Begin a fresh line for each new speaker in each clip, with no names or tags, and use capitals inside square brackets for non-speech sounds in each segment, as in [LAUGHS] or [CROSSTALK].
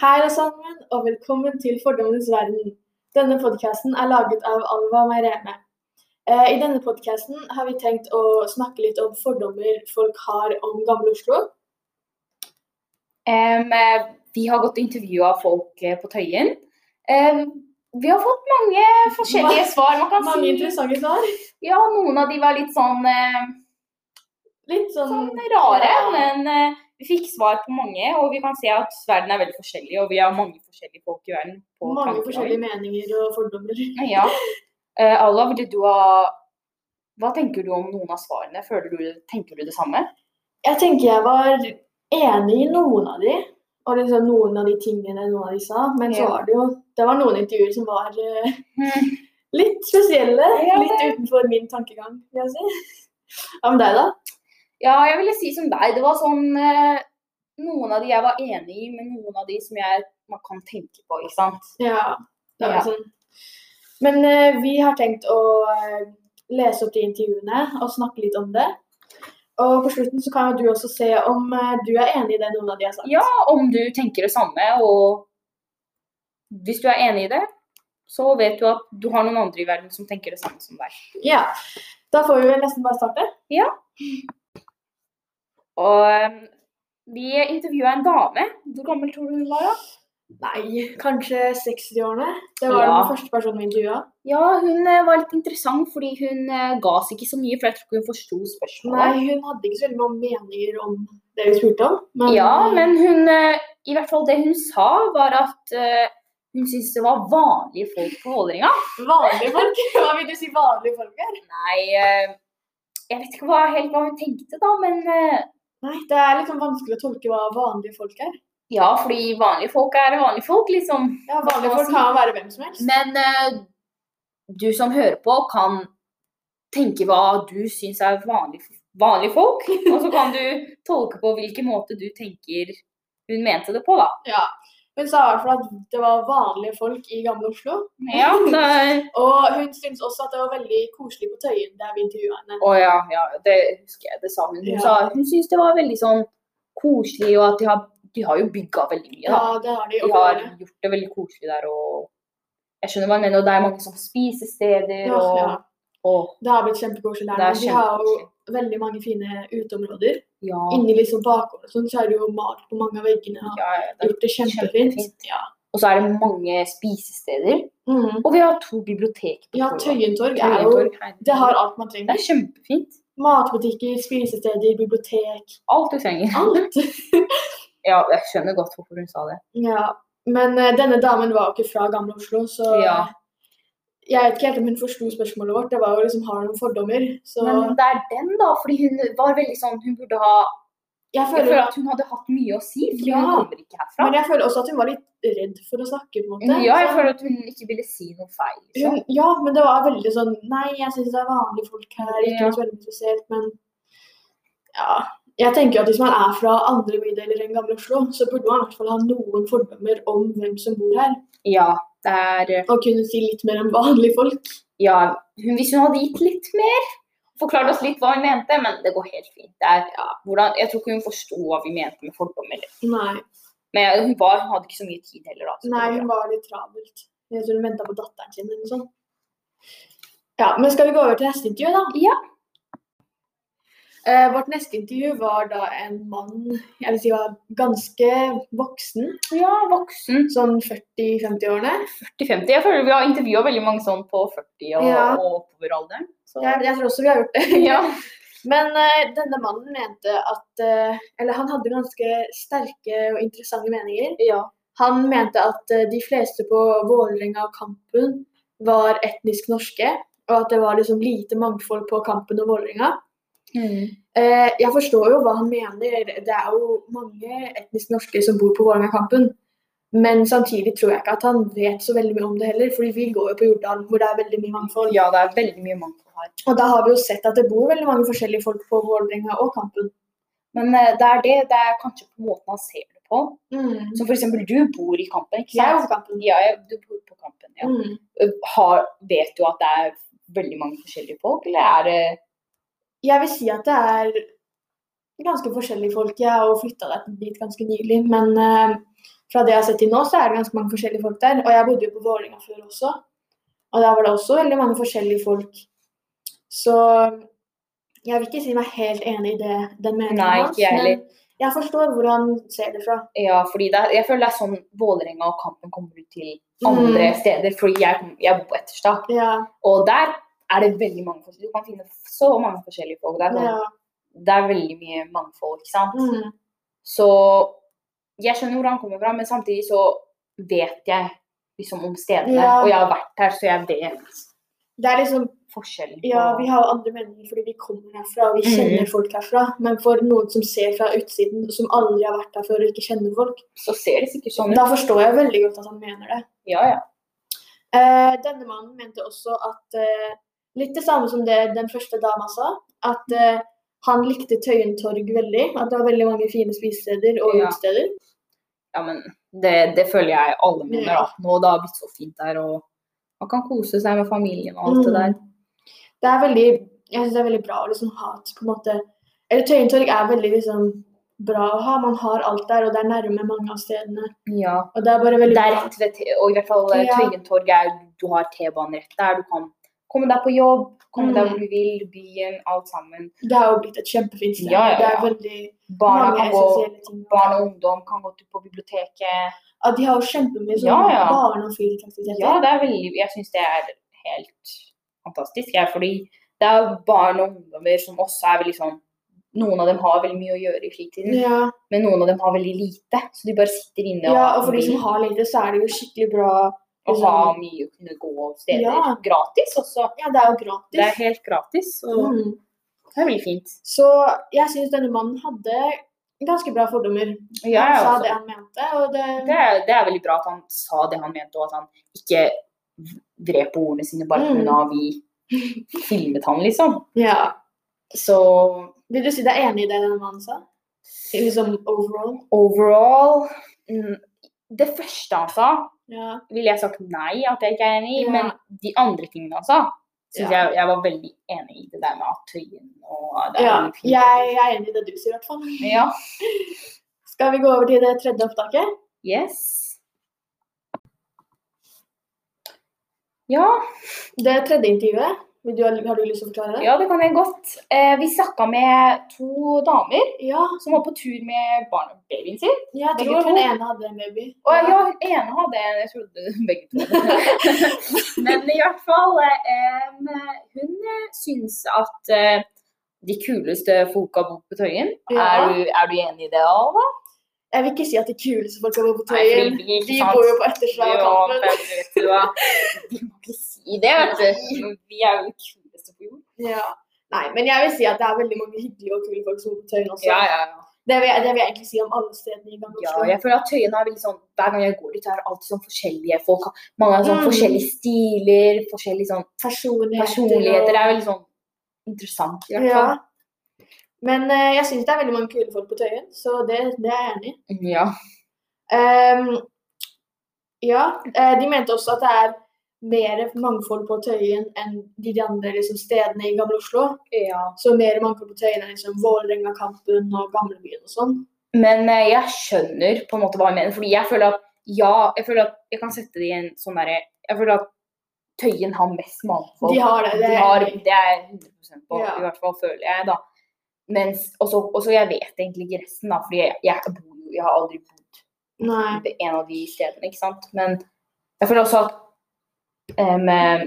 Hei alle sammen, og velkommen til Fordommenes verden. Denne podkasten er laget av Alva Meireme. Eh, I denne podkasten har vi tenkt å snakke litt om fordommer folk har om Gamle Oslo.
Em, eh, vi har gått og intervjua folk eh, på Tøyen. Em, vi har fått mange forskjellige
Ma-
svar. Man kan
Mange
si
interessante svar.
ja, noen av de var litt sånn, eh,
Litt sånn
sånn rare,
Ja.
men eh, vi fikk svar på mange. Og vi kan se at verden er veldig forskjellig, og vi har mange forskjellige folk i verden. på
mange
tankegang.
forskjellige meninger og fordommer.
Ja. Eh, Allah, vil du ha Hva tenker du om noen av svarene? Føler du, tenker du det samme?
Jeg tenker jeg var enig i noen av de, og liksom noen av de tingene noen av de sa. Men så
Ja.
var det jo Det var noen intervjuer som var eh, litt spesielle.
Ja,
Litt utenfor min tankegang, vil jeg si. Hva med deg, da?
Ja, jeg ville si som deg. Det var sånn eh, Noen av de jeg var enig i, men noen av de som jeg man kan tenke på, ikke sant.
Ja. Det er
Ja.
sånn. Men eh, vi har tenkt å eh, lese opp de intervjuene og snakke litt om det. Og på slutten så kan jo du også se om eh, du er enig i det noen av de har sagt.
Ja, om du tenker det samme, og hvis du er enig i det, så vet du at du har noen andre i verden som tenker det samme som deg.
Ja. Da får vi vel nesten bare starte.
Og eh, vi intervjua en dame. Hvor gammel tror du hun var? da?
Nei, kanskje 60-årene. Det var
Ja.
den første personen vi intervjua.
Ja, hun eh, var litt interessant, fordi hun eh, ga seg ikke så mye, for jeg tror ikke hun forsto spørsmålet.
Nei, hun hadde ikke så veldig mange meninger om det vi spurte om. Men,
Ja, men hun eh, I hvert fall det hun sa, var at eh, hun syntes det var vanlige folk på Vålerenga.
vanlige folk? [LAUGHS] Hva vil du si vanlige folk er?
Nei, eh, jeg vet ikke hva, helt hva hun tenkte, da, men eh,
Nei, det er liksom vanskelig å tolke hva vanlige folk er.
Ja, fordi vanlige folk er vanlige folk, liksom.
Ja, Vanlige
Hva
folk
si?
kan være hvem som helst.
Men eh, du som hører på, kan tenke hva du syns er vanlig, vanlige folk. [LAUGHS] Og så kan du tolke på hvilken måte du tenker hun mente det på, da.
Ja. Hun sa i hvert fall at det var vanlige folk i Gamle Oslo.
Ja, det er...
Og hun syntes også at det var veldig koselig på Tøyen der vi intervjua henne.
Å ja, ja, det husker jeg. Det sa hun. Hun,
Ja.
sa, hun syntes det var veldig sånn koselig, og at de har, de har jo bygga veldig mye.
Ja,
Da.
det har de.
De har eh, gjort det veldig koselig der. og Jeg skjønner hva hun mener, og det er mange sånn spisesteder.
Ja,
og,
ja.
og
Det har blitt kjempekoselig
Det
der. men
er
De har jo
kjempekoselig.
veldig mange fine uteområder.
ja,
Inni liksom bakgården og sånn, så er det jo malt på mange av veggene. Og
ja, ja, det-
gjort det kjempefint.
Kjempefint.
Ja.
Og så er det mange spisesteder.
Mm.
Og vi har to bibliotek. på
ja,
Torgata.
Tøyentorg er jo
Tøyentorg, herregud.
Det har alt man
det
trenger.
er kjempefint.
Matbutikker, spisesteder, bibliotek.
Alt du trenger.
Alt.
Ja, jeg skjønner godt hvorfor hun sa det.
Ja. Men eh, denne damen var jo ikke fra Gamle Oslo, så
Ja.
Jeg vet ikke helt om hun forsto spørsmålet vårt. Det var jo liksom har du noen fordommer. Så
Men det er den, da. Fordi hun var veldig sånn Hun burde ha
jeg
Jeg
føler,
føler at hun hadde hatt mye å si, fordi hun
Ja.
kommer ikke herfra. Mm,
men jeg føler også at hun var litt redd for å snakke, på en måte.
Ja, jeg
Så
føler at hun ikke ville si noe feil. Liksom.
hun, ja, men det var veldig sånn Nei, jeg syns det er vanlige folk her, ikke
Ja.
noe så veldig spesielt, men Ja. Jeg tenker jo at hvis man er fra andre bydeler enn Gamle Oslo, så burde man i hvert fall ha noen fordommer om hvem som bor her.
Ja, det er, eh,
Og kunne si litt mer om vanlige folk.
ja hun, hvis hun hadde gitt litt mer, forklart oss litt hva hun mente, men det går helt fint. Det er, hvordan, jeg tror ikke hun forsto hva vi mente med fordommer.
Nei,
Men hun, var, hun hadde ikke så mye tid heller. Da, så det
nei
var bra.
hun var litt travelt. Jeg tror hun venta på datteren sin eller noe sånt. Ja, men skal vi gå over til neste intervju, da?
Ja.
Eh, vårt neste intervju var da en mann jeg vil si var ganske voksen,
ja, voksen.
sånn 40-50-årene.
40-50. Jeg føler vi har intervjua veldig mange sånn på 40 og,
Ja.
og oppover-alderen. Så
Jeg, jeg tror også vi har gjort det.
[LAUGHS] ja.
Men eh, denne mannen mente at eh, Eller han hadde ganske sterke og interessante meninger.
ja.
Han mente at eh, de fleste på Vålerenga og Kampen var etnisk norske, og at det var liksom lite mangfold på Kampen og Vålerenga. Eh, jeg forstår jo hva han mener, det er jo mange etnisk norske som bor på Vålerenga-kampen. Men samtidig tror jeg ikke at han vet så veldig mye om det heller, fordi vi går jo på Jordal hvor det er veldig mye mangfold.
ja, det er veldig mye mangfold her.
Og da har vi jo sett at det bor veldig mange forskjellige folk på Vålerenga og Kampen.
Men eh, det er det, det er kanskje på måten han ser det på. Som for eksempel, du bor i kampen, ikke
Jeg er
sant?
jo på Kampen.
Ja, jeg- du bor på kampen, ja.
Mm.
Har, vet du at det er veldig mange forskjellige folk, eller er det
Jeg vil si at det er ganske forskjellige folk. Jeg har jo flytta dit ganske nylig, men eh, fra det jeg har sett til nå, så er det ganske mange forskjellige folk der. Og jeg bodde jo på Vålerenga før også, og der var det også veldig mange forskjellige folk. Så jeg vil ikke si meg helt enig i det, den meningen
Nei, ikke jeg heller.
men jeg forstår hvor han ser det fra.
Ja, fordi det er, jeg føler det er sånn Vålerenga og kampen kommer ut til
Mm.
andre steder. Fordi jeg, kom- jeg bor på Etterstad,
Ja,
og der er det veldig mange forskjellige Du kan finne så mange forskjellige folk. Det er, sånn,
ja.
det er veldig mye mangfold, ikke sant.
Mm,
Så jeg skjønner hvor han kommer fra, men samtidig så vet jeg liksom om stedene.
Ja.
Og jeg har vært her, så jeg vet
det er liksom
forskjellen. på-
Ja, vi har jo andre meninger fordi vi kommer herfra og vi
Mhm.
kjenner folk herfra. Men for noen som ser fra utsiden, som aldri har vært her før og ikke kjenner folk,
Så ser det sikkert sånn ut.
da forstår jeg veldig godt at han mener det.
Ja, ja.
Eh, denne mannen mente også at eh, Litt det samme som det den første dama sa, at eh, han likte Tøyen torg veldig. At det var veldig mange fine spisesteder og
Ja.
utesteder.
ja men Mm. det, det føler jeg alle mener.
Ja.
da. Nå det har blitt så fint der, og man kan kose seg med familien og alt det der.
Mm. Det er veldig, jeg syns det er veldig bra å liksom ha et på en måte Eller Tøyen torg er veldig liksom bra å ha. Man har alt der, og det er nærme mange av stedene.
Ja.
Og det er bare veldig
Det er
bra.
rett ved, te- og i hvert fall eh,
Ja.
Tøyen torg er Du har T-banen rett der. Du kan komme deg på jobb, komme deg hvor du vil, byen, alt sammen.
Det har jo blitt et kjempefint sted.
Ja, ja,
Det er
ja.
veldig
Barna
mange
kan gå,
essensielle ting.
barn og ungdom kan gå til på biblioteket.
Ja, de har jo kjempemye sånn sånne
Ja, ja.
barne- og fritidsaktiviteter.
Ja, det er veldig, jeg syns det er helt fantastisk. Jeg, fordi det er barn og ungdommer som også er veldig sånn Noen av dem har veldig mye å gjøre i fritiden,
ja.
men noen av dem har veldig lite. Så de bare sitter inne og,
ja, og for de
vil-
som har lite, så er det jo skikkelig bra. liksom.
og har mye å kunne gå av steder.
Ja.
Gratis også.
Ja, det er jo
Det er
gratis.
helt gratis, og
Mm.
det er veldig fint.
Så jeg syns denne mannen hadde ganske bra fordommer.
Ja,
han sa
altså,
det han mente, og det,
det, er, det er veldig bra at han sa det han mente, og at han ikke vred på ordene sine bare
Mm.
pga. vi [LAUGHS] filmet han, liksom.
Ja.
Så
Vil du si deg enig i det denne mannen sa? Liksom overall?
overall mm, Det første han sa,
Ja.
ville jeg sagt nei, at jeg ikke er enig i.
Ja.
Men de andre tingene han sa, syns
Ja.
jeg jeg var veldig enig i. Det der med at Tøyen og det er
ja.
veldig fint.
Jeg er enig i det du sier, i hvert fall.
ja.
Skal vi gå over til det tredje opptaket?
Yes. Ja,
Det tredje intervjuet. Vil du, har du lyst til å forklare det?
ja, det kan jeg godt. Eh, vi snakka med to damer
Ja,
som var på tur med barnebabyen sin.
jeg
Begge
tror
to?
hun ene hadde en baby.
Og ja, hun ene hadde en, jeg trodde begge to.
[LAUGHS]
Men i hvert fall, eh, em, hun eh, syns at eh, de kuleste folka bor på Tøyen.
Ja.
Er, du, er du enig i det, Alva?
Jeg vil ikke si at de kuleste folka bor på
Nei, fordi
Tøyen.
vi- ikke
De
sant?
bor jo på
Ja,
Etterstad og
men
Kampen.
vet du hva. Vi må ikke si det, vet du. Men Vi er jo de kuleste på jord.
Ja. Nei, men jeg vil si at det er veldig mange hyggelige og kule folk som bor på Tøyen også.
Ja, ja, ja.
Det, vil jeg, det vil jeg egentlig si om alle stedene i Gamle
Ja,
Oslo.
jeg føler at Tøyen har veldig sånn Hver gang jeg går dit, så er det alltid sånn forskjellige folk. Mange har sånn
Mm.
forskjellige stiler, forskjellige sånn
Personligheter.
personligheter. Det er veldig sånn interessant, i
og-
hvert
Ja.
fall.
Men eh, jeg syns det er veldig mange kule folk på Tøyen, så det, det er jeg enig i.
Ja.
Ehm, ja, eh, de mente også at det er mer mangfold på Tøyen enn de andre liksom, stedene i Gamle Oslo.
ja.
Så mer mangfold på Tøyen enn liksom, Vålerenga-kampen og Gamlebyen og sånn.
Men eh, jeg skjønner på en måte hva jeg mener. Fordi jeg føler at ja, jeg føler at jeg kan sette det i en sånn derre Jeg føler at Tøyen har mest mangfold.
De har det, det
De
er jeg
har,
enig i.
det er jeg 100 på,
Ja.
i hvert fall føler jeg, da. Mens, og så- og så jeg vet egentlig ikke resten, da, fordi jeg, jeg, bor, jo- jeg har aldri bodd
Nei.
på en av de stedene, ikke sant. Men jeg føler også at em, eh,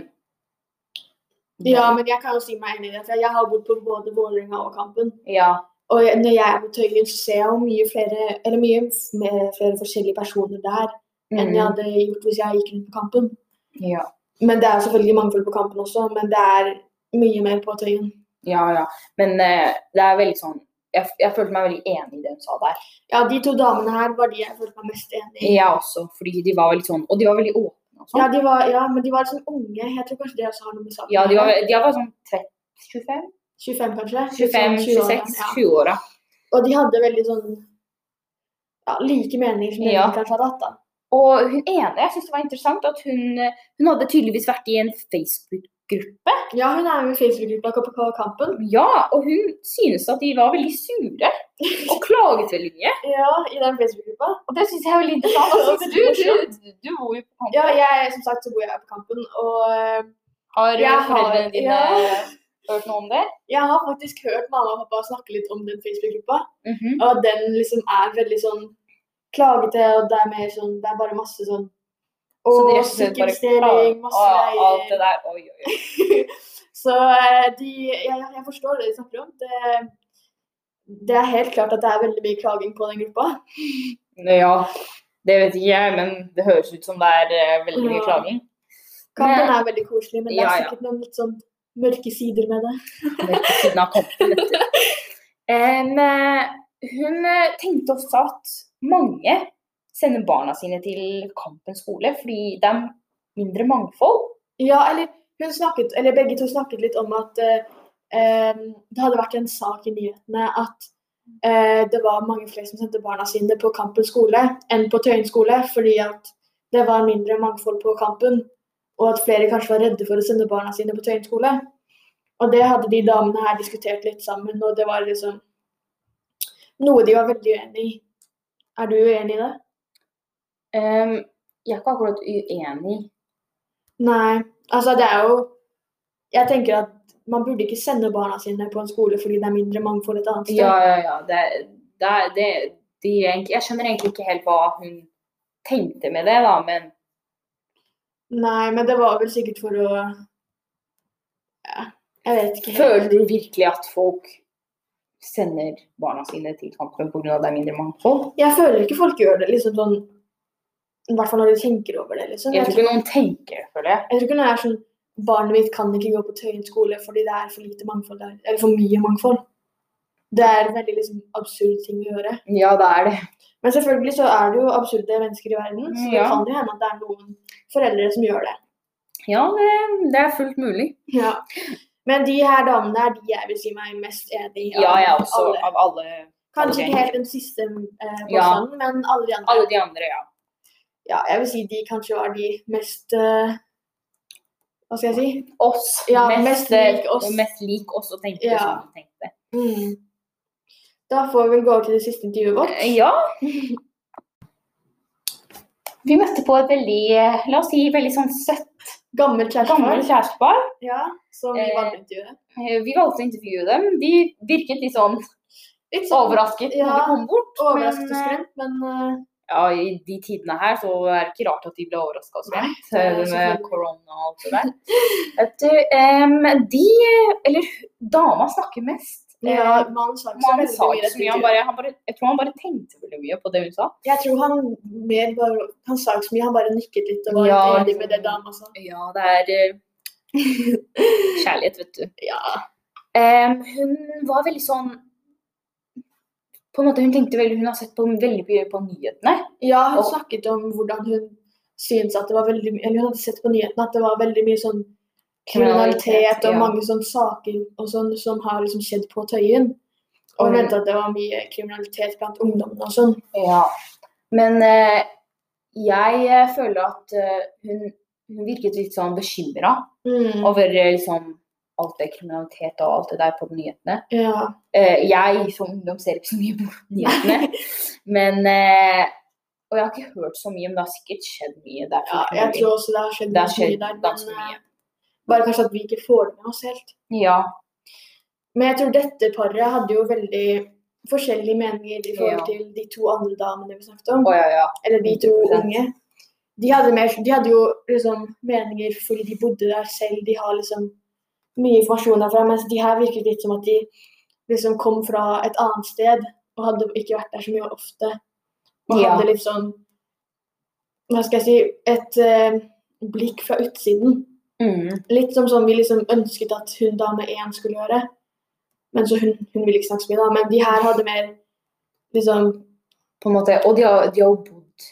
Ja, men jeg kan jo si meg enig i det. For jeg har bodd på både Vålerenga og Kampen.
ja,
Og jeg- når jeg er på Tøyen, så ser jeg jo mye flere, eller mye f- mer- flere forskjellige personer der enn jeg
mm,
hadde gjort hvis jeg gikk rundt på Kampen.
ja.
Men det er selvfølgelig mangfold på Kampen også, men det er mye mer på Tøyen.
Ja, ja. Men eh, det er veldig sånn jeg, jeg følte meg veldig enig i det hun sa der.
Ja, de to damene her var de jeg følte meg mest enig i.
Jeg også, fordi de var veldig sånn Og de var veldig åpne og sånn.
Ja, de var, ja, men de var sånn unge. Jeg tror kanskje det også har noe med saken
Ja, de
å
var,
gjøre.
de var sånn 30, 25?
25 kanskje?
25,
20 år,
26,
ja.
20-åra.
Og de hadde veldig sånn ja, like meninger som
Ja.
de kanskje hadde hatt. da.
Og hun ene, jeg syns det var interessant at hun, eh, hun hadde tydeligvis vært i en Facebook-gruppe.
Ja, hun er med i Facebook-gruppa KPK Kampen.
Ja, og hun synes at de var veldig sure og klaget veldig mye.
Ja, i den Facebook-gruppa.
Og det syns jeg er veldig [LAUGHS] interessant. Hva synes du? Du, du bor jo på
Ja, jeg, som sagt så bor jeg på Kampen, og eh,
Har eh,
Jeg har-
foreldrene dine
ja.
hørt noe om det?
jeg har faktisk hørt mamma og pappa snakke litt om den Facebook-gruppa.
Mhm.
Og at den liksom er veldig sånn klagete, og det er mer sånn Det er bare masse sånn
Så
Og
de rett og slett bare
sikkerhetsdeling,
klager-
masse
og alt
greier.
det der. Oi, oi, oi.
[LAUGHS] Så eh, de jeg, jeg forstår det de snakker om. Det, det er helt klart at det er veldig mye klaging på den gruppa.
Ja, det vet ikke jeg, men det høres ut som det er eh, veldig mye
Ja.
klaging.
Kampen
Men-
er veldig koselig, men det
Ja,
er
ja.
sikkert noen litt sånn mørke sider med det.
Det er på siden av kampen, vet du. [LAUGHS] En, eh, hun eh, tenkte også at mange sender barna sine til Kampen skole fordi det er mindre mangfold.
Ja, eller hun snakket, eller begge to snakket litt om at eh, eh, det hadde vært en sak i nyhetene at eh, det var mange flere som sendte barna sine på Kampen skole enn på Tøyen skole, fordi at det var mindre mangfold på Kampen, og at flere kanskje var redde for å sende barna sine på Tøyen skole. Og det hadde de damene her diskutert litt sammen, og det var liksom noe de var veldig uenig i. Er du uenig i det?
Ehm, jeg er ikke akkurat uenig.
Nei, altså det er jo Jeg tenker at man burde ikke sende barna sine på en skole fordi det er mindre mangfold et annet sted.
Ja, ja, ja. Det, det, det, de, er egentlig- jeg skjønner egentlig ikke helt hva hun tenkte med det, da, men
Nei, men det var vel sikkert for å Ja, jeg vet ikke. helt.
føler du virkelig at folk sender barna sine til Kampen pga. det er mindre mangfold?
Jeg føler ikke folk gjør det liksom sånn I hvert fall når de tenker over det, liksom.
Jeg
Jeg
tror
tror,
ikke noen tenker på det.
jeg tror ikke det er sånn Barnet mitt kan ikke gå på Tøyen skole fordi det er for lite mangfold der. Eller for mye mangfold. Det er en veldig liksom, absurd ting å gjøre.
Ja, det er det.
Men selvfølgelig så er det jo absurde mennesker i verden, så det
Ja.
kan jo hende at det er noen foreldre som gjør det.
Ja, det, det er fullt mulig.
Ja. Men de her damene er de jeg vil si meg mest enig i. av
Ja, jeg også.
alle.
Av alle,
Kanskje
alle
ikke helt den siste eh,
Ja.
påstanden, men alle de andre.
alle de andre, ja.
Ja, jeg vil si de kanskje var de mest eh, Hva skal jeg si?
Oss.
Ja, mest lik oss.
Mest lik oss og tenkte
Ja.
som vi tenkte.
Hmm. Da får vi vel gå over til det siste intervjuet vårt.
Eh, Ja. Vi møtte på et veldig, eh, la oss si, veldig sånn søtt,
Gammelt
gammelt
kjærestepar.
kjærestepar.
Ja, som vi
Eh,
valgte å intervjue.
Eh, Vi valgte å intervjue dem. De virket litt sånn
Litt sånn
overrasket når
Ja.
de kom bort.
overrasket og
men, eh,
skremt, men eh,
Ja, I de tidene her så er det ikke rart at de ble overraska og skremt.
Nei, det er
eh, Med
selvfølgelig.
korona og alt det der. Vet du, em, de, eller dama snakker mest. Eh,
ja, mannen sa ikke så
Man
veldig
sa
mye. i
ikke
dette
så mye, han
intervjuet.
bare, han bare, jeg tror han bare tenkte veldig mye på det hun sa.
Jeg tror han mer bare Han sa ikke så mye, han bare nikket litt og var
Ja.
litt enig med det sånn. dama sa.
Ja, det er eh, [LAUGHS] kjærlighet, vet du.
Ja.
Em, hun var veldig sånn på en måte Hun tenkte veldig, hun har sett på veldig mye på nyhetene.
Ja, hun
Og-
snakket om hvordan hun syntes at det var veldig mye Eller hun hadde sett på nyhetene at det var veldig mye sånn kriminalitet og
ja.
mange sånne saker og sånn som har liksom skjedd på Tøyen. Og hun
Mm.
mente at det var mye kriminalitet blant ungdommene og sånn.
Ja. Men eh, jeg eh, føler at eh, hun, hun virket litt sånn bekymra
Mm.
over eh, liksom, alt det kriminalitet og alt det der på nyhetene.
Ja.
Eh, jeg som ungdom ser ikke så mye på [LAUGHS] nyhetene. Men eh, Og jeg har ikke hørt så mye, men det har sikkert skjedd mye. Det er
ja,
fullt
jeg
mulig.
tror også det har skjedd
det har
mye
skjedd
der,
ganske
men
mye.
eh, bare kanskje at vi ikke får det med oss helt.
Ja.
Men jeg tror dette paret hadde jo veldig forskjellige meninger i forhold
Ja.
til de to andre damene vi snakket om.
Å ja, ja.
eller de to
100%.
unge, de hadde, mer, de hadde jo liksom meninger fordi de bodde der selv. De har liksom mye informasjon derfra. Mens de her virket litt som at de liksom kom fra et annet sted og hadde ikke vært der så mye ofte. Og
Ja.
hadde litt sånn Hva skal jeg si Et eh, blikk fra utsiden.
Mm.
Litt som sånn vi liksom ønsket at hun dame én skulle gjøre. Men så hun, hun ville ikke snakke så mye, da. Men de her hadde mer liksom
På en måte. Og de har, de har jo bodd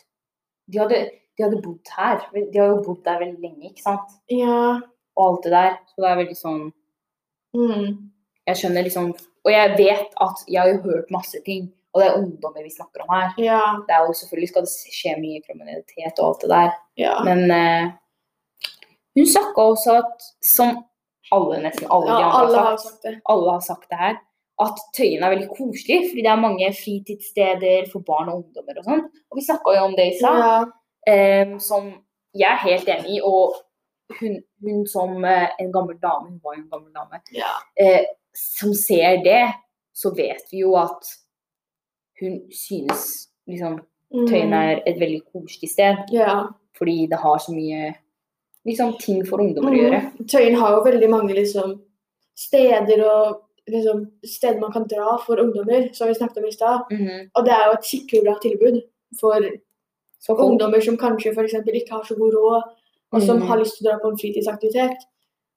de hadde, de hadde bodd her. De har jo bodd der veldig lenge, ikke sant?
Ja.
Og alt det der. Så det er veldig sånn
Mm.
Jeg skjønner liksom Og jeg vet at jeg har jo hørt masse ting. Og det er ungdommer vi snakker om her.
Ja.
Det er jo selvfølgelig skal det skje mye kriminalitet og alt det der.
ja.
Men eh, hun snakka også at som alle, nesten alle de
Ja,
andre
alle
har
har
sagt,
sagt det.
alle har sagt det her, at Tøyen er veldig koselig, fordi det er mange fritidssteder for barn og ungdommer og sånn. Og vi snakka jo om det i stad,
Ja.
eh, som jeg er helt enig i. Og hun, hun som eh, en gammel dame, hun var jo en gammel dame,
Ja.
eh, som ser det, så vet vi jo at hun synes liksom
Mm.
Tøyen er et veldig koselig sted,
ja.
fordi det har så mye liksom, ting for ungdommer å
Mm.
gjøre.
Tøyen har jo veldig mange liksom, steder og liksom, steder man kan dra for ungdommer, som vi snakket om i stad.
Mhm.
Og det er jo et skikkelig bra tilbud for
Så folk-
ungdommer som kanskje for eksempel ikke har så god råd, og som
Mm.
har lyst til å dra på en fritidsaktivitet.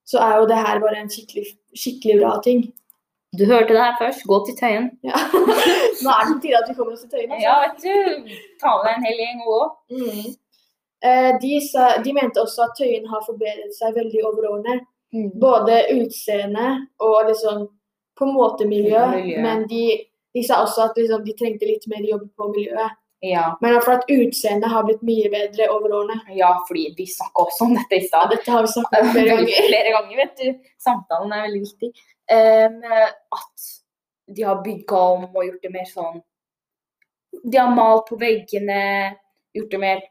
Så er jo det her bare en skikkelig, skikkelig bra ting.
Du hørte det her først. Gå til Tøyen. [LAUGHS]
Ja. Nå er det på tide at vi kommer oss til Tøyen. altså.
Ja, vet du. Ta med deg en hel gjeng og gå.
Mm. Eh, de, sa, de mente også at Tøyen har forbedret seg veldig over årene.
Mm.
Både utseende og liksom på en måte miljø.
Ja, miljø.
Men de, de sa også at liksom, de trengte litt mer jobb på miljøet.
Ja.
Men for at utseendet har blitt mye bedre over årene.
ja, fordi vi snakka også om dette i
Ja,
stad.
dette har vi snakket om flere ganger.
Flere ganger, vet du. Samtalen er veldig viktig. Em, at de har bygga om og gjort det mer sånn De har malt på veggene, gjort det mer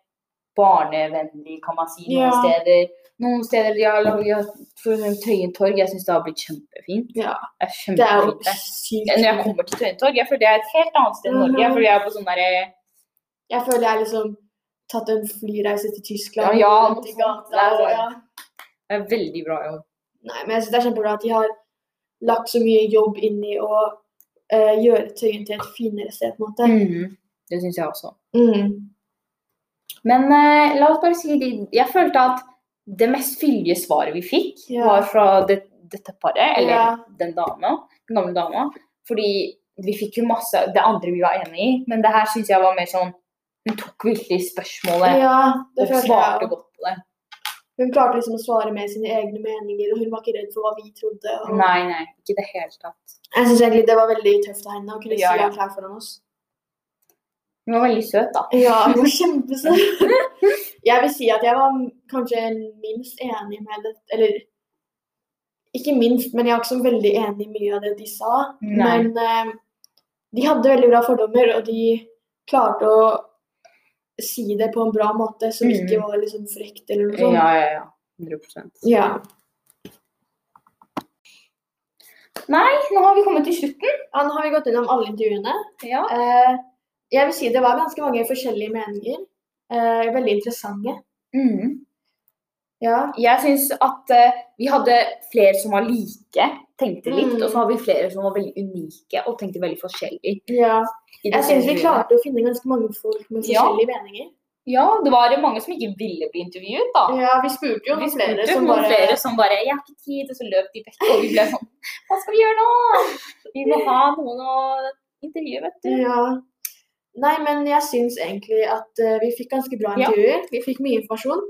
barnevennlig, kan man si, noen
Ja.
steder. Noen steder de har laget for eksempel Tøyen torg. Jeg syns det har blitt kjempefint.
Ja.
Det er
Det er jo
kjempefint. der.
sykt.
Når jeg kommer til Tøyentorg, jeg føler jeg er et helt annet sted i Norge. Jeg føler jeg er på sånn derre
Jeg føler jeg har liksom tatt en flyreise til Tyskland.
Ja, ja,
rundt i
noe sånt.
gata, og, ja.
Det er veldig bra jobb.
Nei, men jeg synes det er kjempebra at de har lagt så mye jobb inn i å eh, gjøre Tøyen til et finere sted, på en måte.
Mhm. Det syns jeg også.
Mm.
Men eh, la oss bare si det. Jeg følte at det mest fyldige svaret vi fikk,
Ja.
var fra det, dette paret, eller
Ja.
den dama, den gamle dama. Fordi vi fikk jo masse Det andre vi var enig i, men det her syns jeg var mer sånn Hun tok virkelig spørsmålet
Ja, det
og
føler jeg
svarte
også.
godt på det.
Hun klarte liksom å svare med sine egne meninger, og hun var ikke redd for hva vi trodde. Og...
Nei, nei, ikke i det hele tatt.
Jeg synes egentlig det var veldig tøft av henne å kunne
Ja,
si
ja.
alt her foran oss.
Hun var veldig søt, da. [LAUGHS]
Ja, hun var kjempesøt. [LAUGHS] Jeg vil si at jeg var kanskje minst enig med det, eller ikke minst, men jeg var ikke så veldig enig i mye av det de sa.
Nei.
Men eh, de hadde veldig bra fordommer, og de klarte å si det på en bra måte, som
Mm.
ikke var liksom frekt eller noe sånt.
Ja, ja, ja. 100
Ja.
Nå har vi kommet til slutten.
Ja, nå har vi gått gjennom alle intervjuene.
Ja.
Eh, jeg vil si det var ganske mange forskjellige meninger. Eh, veldig interessante.
Mm.
Ja.
Jeg syns at eh, vi hadde flere som var like, tenkte likt,
Mm.
og så har vi flere som var veldig unike og tenkte veldig forskjellig. I det
Jeg syns vi
intervjuet.
klarte å finne ganske mange folk med
Ja.
forskjellige meninger.
Ja, det var mange som ikke ville bli intervjuet, da.
Ja, vi spurte jo
Vi
noen
spurte
flere som
noen
bare
flere som bare 'Jeg har ikke tid', og så løp de vekk. Og vi ble sånn Hva skal vi gjøre nå? Vi må ha noen å intervjue, vet du.
Ja. Nei, men jeg syns egentlig at eh, vi fikk ganske bra
Ja.
intervjuer. Vi fikk mye informasjon.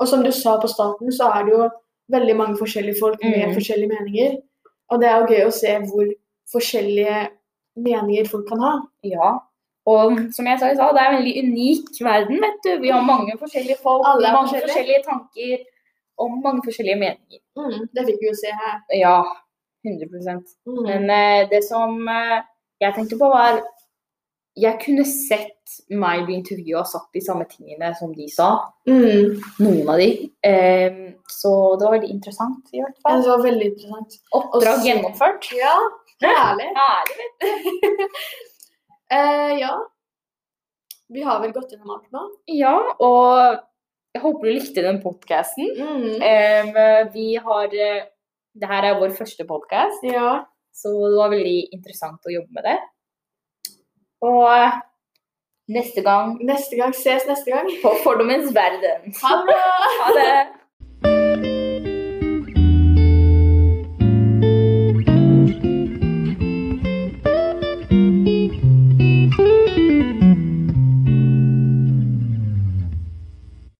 Og som du sa på starten, så er det jo veldig mange forskjellige folk med
Mm.
forskjellige meninger. Og det er jo gøy å se hvor forskjellige meninger folk kan ha.
Ja. Og som jeg sa i stad, det er en veldig unik verden, vet du. Vi har mange forskjellige folk,
Alle er
mange
forskjellige.
forskjellige tanker og mange forskjellige meninger.
Mm, det fikk vi jo se her.
Ja, 100
Mm.
Men eh, det som eh, jeg tenkte på, var Jeg kunne sett meg bli intervjua og sagt de samme tingene som de sa.
Mm.
Noen av de. Eh, så det var veldig interessant, i hvert
Ja,
fall.
Det var veldig interessant.
Oppdrag
også-
gjennomført.
Ja, herlig.
Herlig.
Eh, ja. Vi har vel gått gjennom alt nå.
Ja, og jeg håper du likte den podkasten.
Mm.
vi har eh, Det her er vår første podkast,
Ja.
så det var veldig interessant å jobbe med det. Og eh, neste gang
Neste gang ses neste gang.
på Fordommens verden.
Ha det bra!
Ha det!